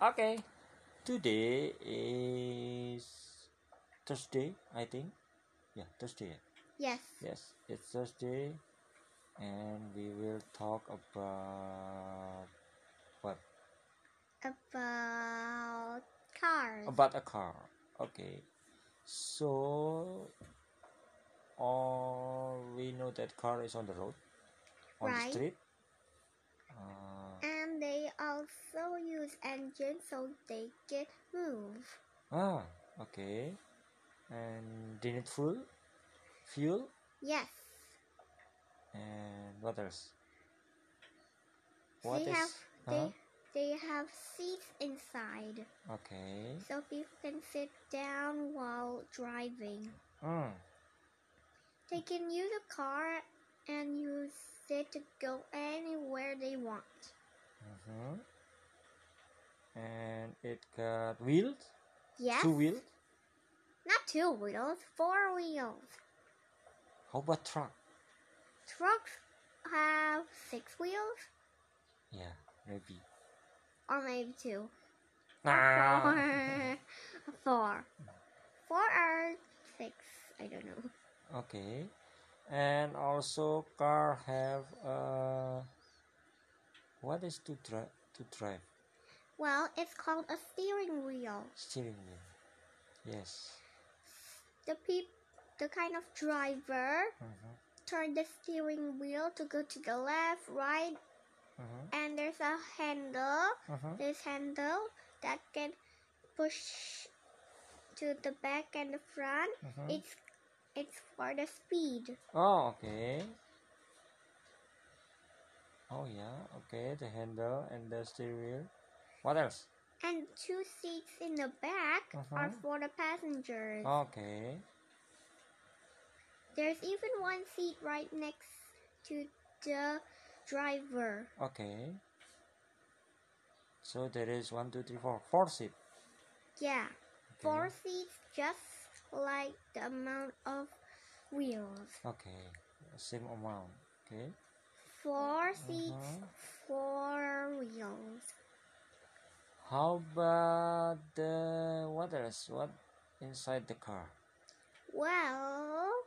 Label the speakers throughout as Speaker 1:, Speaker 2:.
Speaker 1: Okay, today is Thursday, I think. Yeah, Thursday.
Speaker 2: Yes.
Speaker 1: Yes, it's Thursday, and we will talk about what
Speaker 2: About cars.
Speaker 1: about a car. Okay, so all we know that car is on the road, on
Speaker 2: Right.
Speaker 1: the street. Uh,
Speaker 2: and they also use engines so they can move.
Speaker 1: Ah, okay. And they need fuel, fuel,
Speaker 2: Yes.
Speaker 1: and what else?
Speaker 2: they have they
Speaker 1: uh-huh,
Speaker 2: they have seats inside
Speaker 1: okay.
Speaker 2: so people can sit down while driving.
Speaker 1: Mm,
Speaker 2: They can use a car and use it to go anywhere they want.
Speaker 1: mm-hmm. And it got wheels,
Speaker 2: Yes.
Speaker 1: two wheels.
Speaker 2: Not two wheels, four wheels.
Speaker 1: How about truck?
Speaker 2: Trucks have six wheels
Speaker 1: Yeah, maybe.
Speaker 2: or maybe two.
Speaker 1: Ah.
Speaker 2: Four. Four. Four or six. I don't know.
Speaker 1: Okay. And also car have uh, what is to drive to drive
Speaker 2: Well, it's called a steering wheel.
Speaker 1: steering wheel. Yes.
Speaker 2: The peop, the kind of driver
Speaker 1: Mm-hmm.
Speaker 2: turn the steering wheel to go to the left, right,
Speaker 1: Mm-hmm.
Speaker 2: and there's a handle.
Speaker 1: Uh-huh.
Speaker 2: This handle that can push to the back and the front.
Speaker 1: Mhm.
Speaker 2: It's it's for the speed.
Speaker 1: Oh, okay. Oh yeah, okay. The handle and the steering wheel. What else?
Speaker 2: And two seats in the back are
Speaker 1: Mhm.
Speaker 2: for the passengers.
Speaker 1: Okay.
Speaker 2: There's even one seat right next to the driver.
Speaker 1: Okay. So there is one, two, three, four, four seat.
Speaker 2: Yeah,
Speaker 1: Okay.
Speaker 2: four seats just like the amount of wheels.
Speaker 1: Okay. Same amount. Okay.
Speaker 2: 4 seats,
Speaker 1: Mhm.
Speaker 2: four wheels.
Speaker 1: How about the what else? What inside the car?
Speaker 2: Well,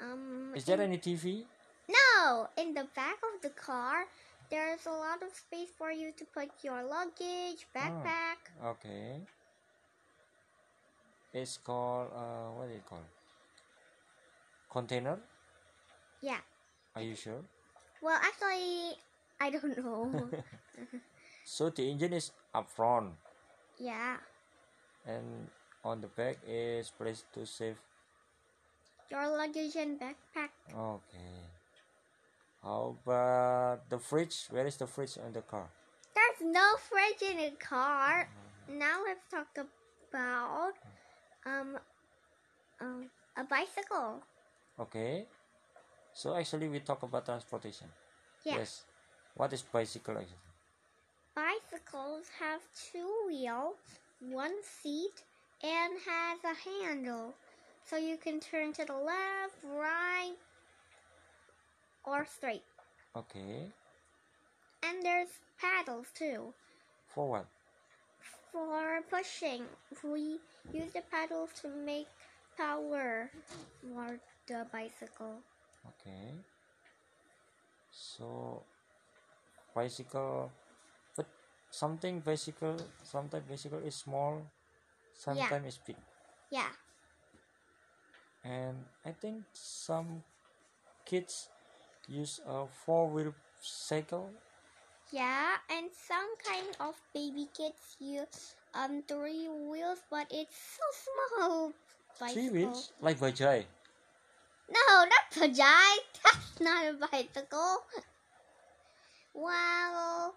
Speaker 2: um,
Speaker 1: Is there
Speaker 2: in-
Speaker 1: any TV?
Speaker 2: no? In the back of the car, there's a lot of space for you to put your luggage,
Speaker 1: Oh.
Speaker 2: backpack.
Speaker 1: Okay. It's called uh, what is it called? Container.
Speaker 2: Yeah.
Speaker 1: Are you sure?
Speaker 2: Well, actually, I don't know.
Speaker 1: So the engine is up front
Speaker 2: yeah,
Speaker 1: and on the back is place to save.
Speaker 2: your luggage and backpack.
Speaker 1: Okay. How about the fridge? Where is the fridge on the car?
Speaker 2: There's no fridge in the car. Now let's talk about um, um a bicycle.
Speaker 1: Okay. So actually we talk about transportation.
Speaker 2: Yeah.
Speaker 1: Yes. What is bicycle actually?
Speaker 2: Bicycles have two wheels, one seat, and has a handle. So you can turn to the left, right, or straight.
Speaker 1: Okay.
Speaker 2: And there's paddles too.
Speaker 1: For what?
Speaker 2: For pushing, we use the paddles to make power for the bicycle.
Speaker 1: Okay. So bicycle but something bicycle sometimes bicycle is small, sometimes it's big.
Speaker 2: Yeah.
Speaker 1: and I think some kids use a four-wheel cycle.
Speaker 2: Yeah, and some kind of baby kids use um three wheels, but it's so small. Bicycle.
Speaker 1: Three wheels, like Bajai.
Speaker 2: No, not Pajai. That's not a bicycle. Well,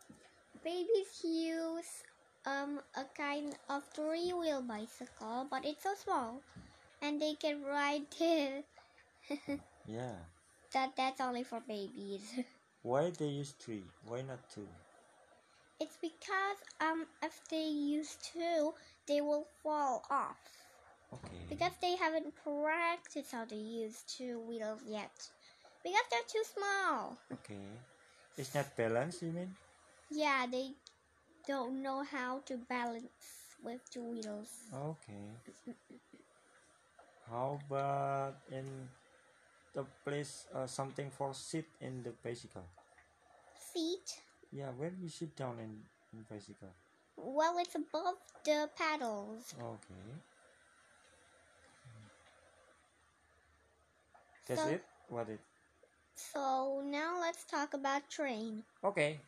Speaker 2: babies use um a kind of three wheel bicycle, but it's so small, and they can ride it.
Speaker 1: Yeah.
Speaker 2: That that's only for babies.
Speaker 1: Why they use three? Why not two?
Speaker 2: It's because um if they use two, they will fall off
Speaker 1: Okay.
Speaker 2: because they haven't practiced how to use two wheels yet because they're too small.
Speaker 1: Okay. It's not balanced, you mean?
Speaker 2: Yeah, they don't know how to balance with two wheels.
Speaker 1: Okay. How about in the place uh, something for sit in the bicycle?
Speaker 2: Seat.
Speaker 1: Yeah, where you sit down in, in bicycle?
Speaker 2: Well, it's above the paddles.
Speaker 1: Okay. That's
Speaker 2: So-
Speaker 1: it? What it?
Speaker 2: So now let's talk about train.
Speaker 1: Okay.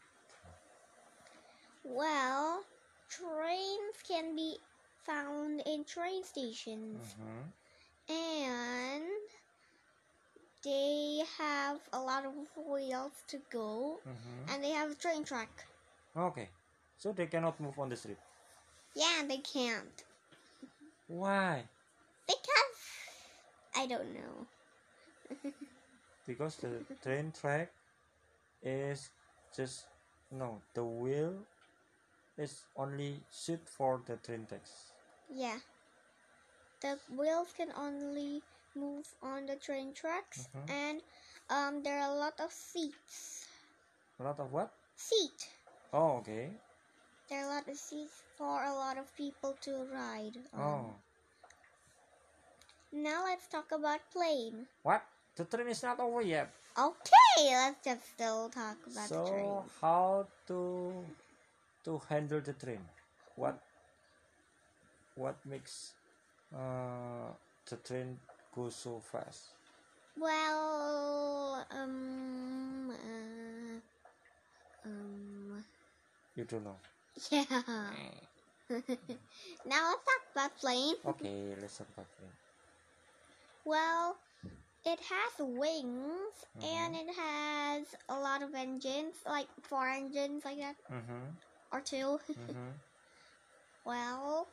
Speaker 2: Well, trains can be found in train stations,
Speaker 1: Mm-hmm.
Speaker 2: and they have a lot of wheels to go,
Speaker 1: Mm-hmm.
Speaker 2: and they have a train track.
Speaker 1: Okay. So they cannot move on the street.
Speaker 2: Yeah, they can't
Speaker 1: Why?
Speaker 2: because I don't know.
Speaker 1: Because the train track is just no, the wheel is only suit for the train tracks.
Speaker 2: Yeah, the wheels can only move on the train tracks,
Speaker 1: Mhm.
Speaker 2: and um, there are a lot of seats.
Speaker 1: A lot of what?
Speaker 2: Seat.
Speaker 1: Oh, okay.
Speaker 2: There are a lot of seats for a lot of people to ride. on.
Speaker 1: Oh,
Speaker 2: Now let's talk about plane.
Speaker 1: what? The train is not over yet.
Speaker 2: Okay, let's just still talk about the train.
Speaker 1: So how to to handle the train? What what makes uh, the train go so fast?
Speaker 2: Well, um, uh, um,
Speaker 1: You don't know.
Speaker 2: yeah. now let's talk about plane.
Speaker 1: Okay, let's talk about train.
Speaker 2: Well, it has wings and it has a lot of engines, like four engines, like that,
Speaker 1: Mm-hmm.
Speaker 2: or two.
Speaker 1: Mm-hmm.
Speaker 2: Well,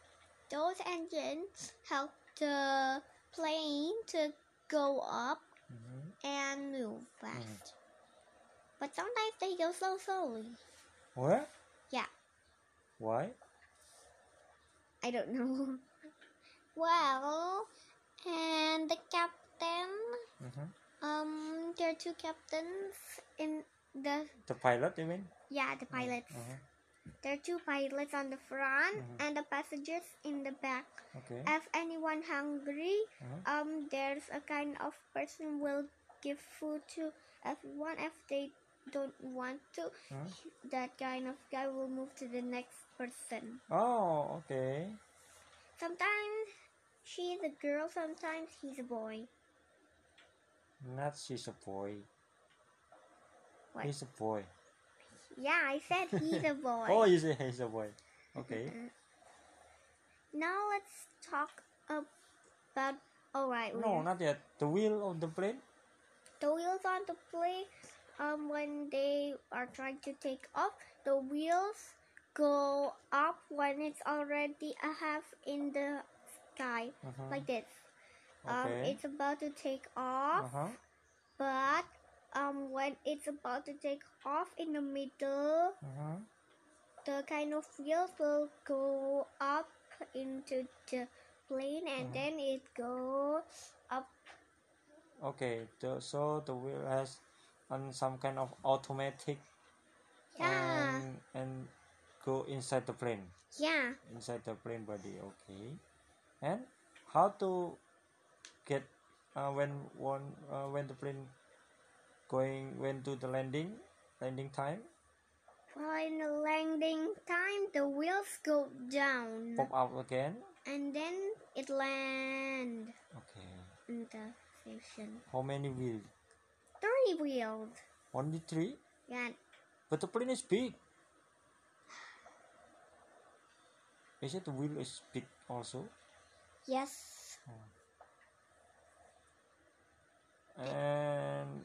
Speaker 2: those engines help the plane to go up
Speaker 1: mm-hmm.
Speaker 2: and move fast. But sometimes they go so slowly.
Speaker 1: What?
Speaker 2: Yeah,
Speaker 1: Why?
Speaker 2: I don't know. well, and the captain,
Speaker 1: Mm-hmm.
Speaker 2: um, there are two captains in the,
Speaker 1: The pilot, you mean?
Speaker 2: yeah, the pilots.
Speaker 1: Mm-hmm.
Speaker 2: There are two pilots on the front
Speaker 1: Mhm.
Speaker 2: and the passengers in the back.
Speaker 1: Okay.
Speaker 2: If anyone hungry,
Speaker 1: Mhm.
Speaker 2: um, there's a kind of person will give food to everyone. If they don't want to,
Speaker 1: Mhm.
Speaker 2: that kind of guy will move to the next person.
Speaker 1: Oh, okay.
Speaker 2: Sometimes she's a girl, sometimes he's a boy.
Speaker 1: Not she's a boy.
Speaker 2: What?
Speaker 1: He's a boy.
Speaker 2: Yeah, I said he's a boy.
Speaker 1: Oh, you say he's a boy. Okay.
Speaker 2: Mm. Now let's talk about. Alright,
Speaker 1: no, not yet. The wheel of the plane.
Speaker 2: the wheels on the plane um, when they are trying to take off the wheels go up when it's already a half in the sky
Speaker 1: Mhm.
Speaker 2: like this um,
Speaker 1: Okay.
Speaker 2: it's about to take off
Speaker 1: Uh-huh.
Speaker 2: but um, when it's about to take off in the middle
Speaker 1: Uh-huh.
Speaker 2: the kind of wheels will go up into the plane and
Speaker 1: Mhm.
Speaker 2: then it goes up
Speaker 1: Okay. The, so the wheel has on some kind of automatic
Speaker 2: yeah
Speaker 1: and and go inside the plane.
Speaker 2: yeah
Speaker 1: Inside the plane body. Okay. And how to get uh, when one uh, when the plane going when to the landing landing time
Speaker 2: Well, in the landing time, the wheels go down,
Speaker 1: pop up again.
Speaker 2: and then it land
Speaker 1: Okay.
Speaker 2: in the station.
Speaker 1: How many wheel?
Speaker 2: Three wheels.
Speaker 1: Only three.
Speaker 2: Yeah,
Speaker 1: But the plane is big. Is it the wheel is big also?
Speaker 2: yes.
Speaker 1: And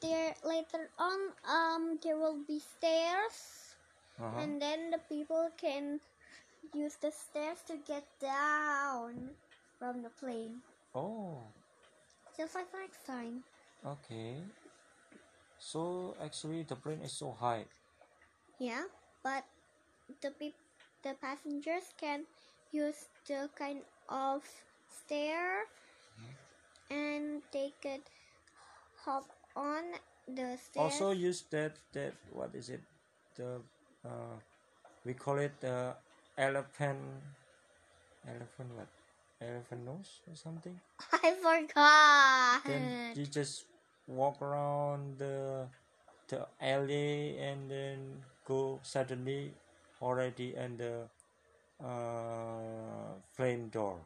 Speaker 2: There later on, um, there will be stairs,
Speaker 1: uh-huh.
Speaker 2: and then the people can use the stairs to get down from the plane,
Speaker 1: oh,
Speaker 2: just like next time.
Speaker 1: okay. So actually, the plane is so high.
Speaker 2: Yeah, but the peop the passengers can use the kind of stair, and they could hop on the stair.
Speaker 1: Also, use that that what is it? The uh, we call it the elephant elephant what elephant nose or something
Speaker 2: I forgot.
Speaker 1: then you just walk around the the alley and then go suddenly already in the uh, plane door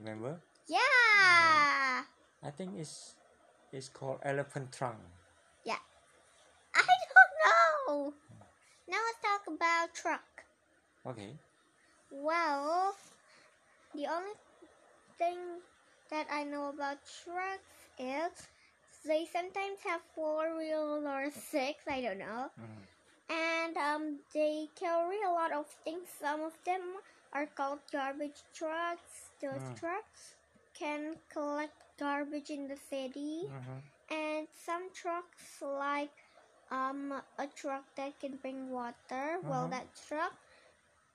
Speaker 1: remember
Speaker 2: yeah.
Speaker 1: i think it's it's called elephant trunk
Speaker 2: I don't know. Now let's talk about truck.
Speaker 1: okay
Speaker 2: Well, the only thing that I know about trucks is they sometimes have four wheels or six, I don't know.
Speaker 1: Mhm.
Speaker 2: And um, they carry a lot of things. Some of them are called garbage trucks. Those
Speaker 1: Mm.
Speaker 2: trucks can collect garbage in the city.
Speaker 1: Mhm.
Speaker 2: And some trucks, like um, a truck that can bring water, well,
Speaker 1: Mhm.
Speaker 2: that truck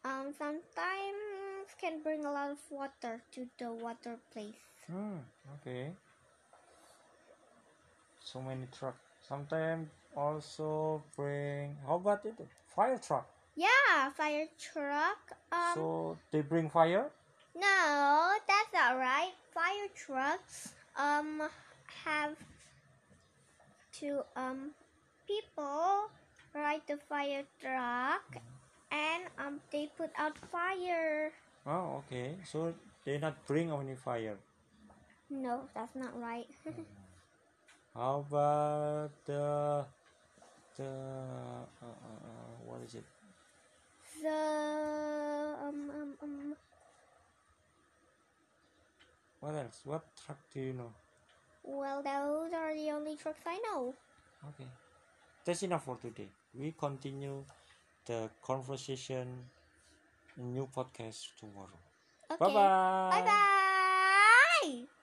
Speaker 2: um, sometimes can bring a lot of water to the water place.
Speaker 1: Hmm, okay. So many truck. Sometimes also bring. How about it? Fire truck.
Speaker 2: Yeah, fire truck. Um,
Speaker 1: so they bring fire.
Speaker 2: no, that's not right. Fire trucks um have to um people ride the fire truck and um they put out fire.
Speaker 1: Oh, okay. So they not bring only fire.
Speaker 2: No, that's not right.
Speaker 1: How about the the uh, uh, uh, what is it?
Speaker 2: the um, um, um,
Speaker 1: What else? What truck do you know?
Speaker 2: well, those are the only trucks I know.
Speaker 1: Okay. That's enough for today. We continue the conversation in new podcast tomorrow.
Speaker 2: Okay.
Speaker 1: Bye bye.
Speaker 2: Bye bye.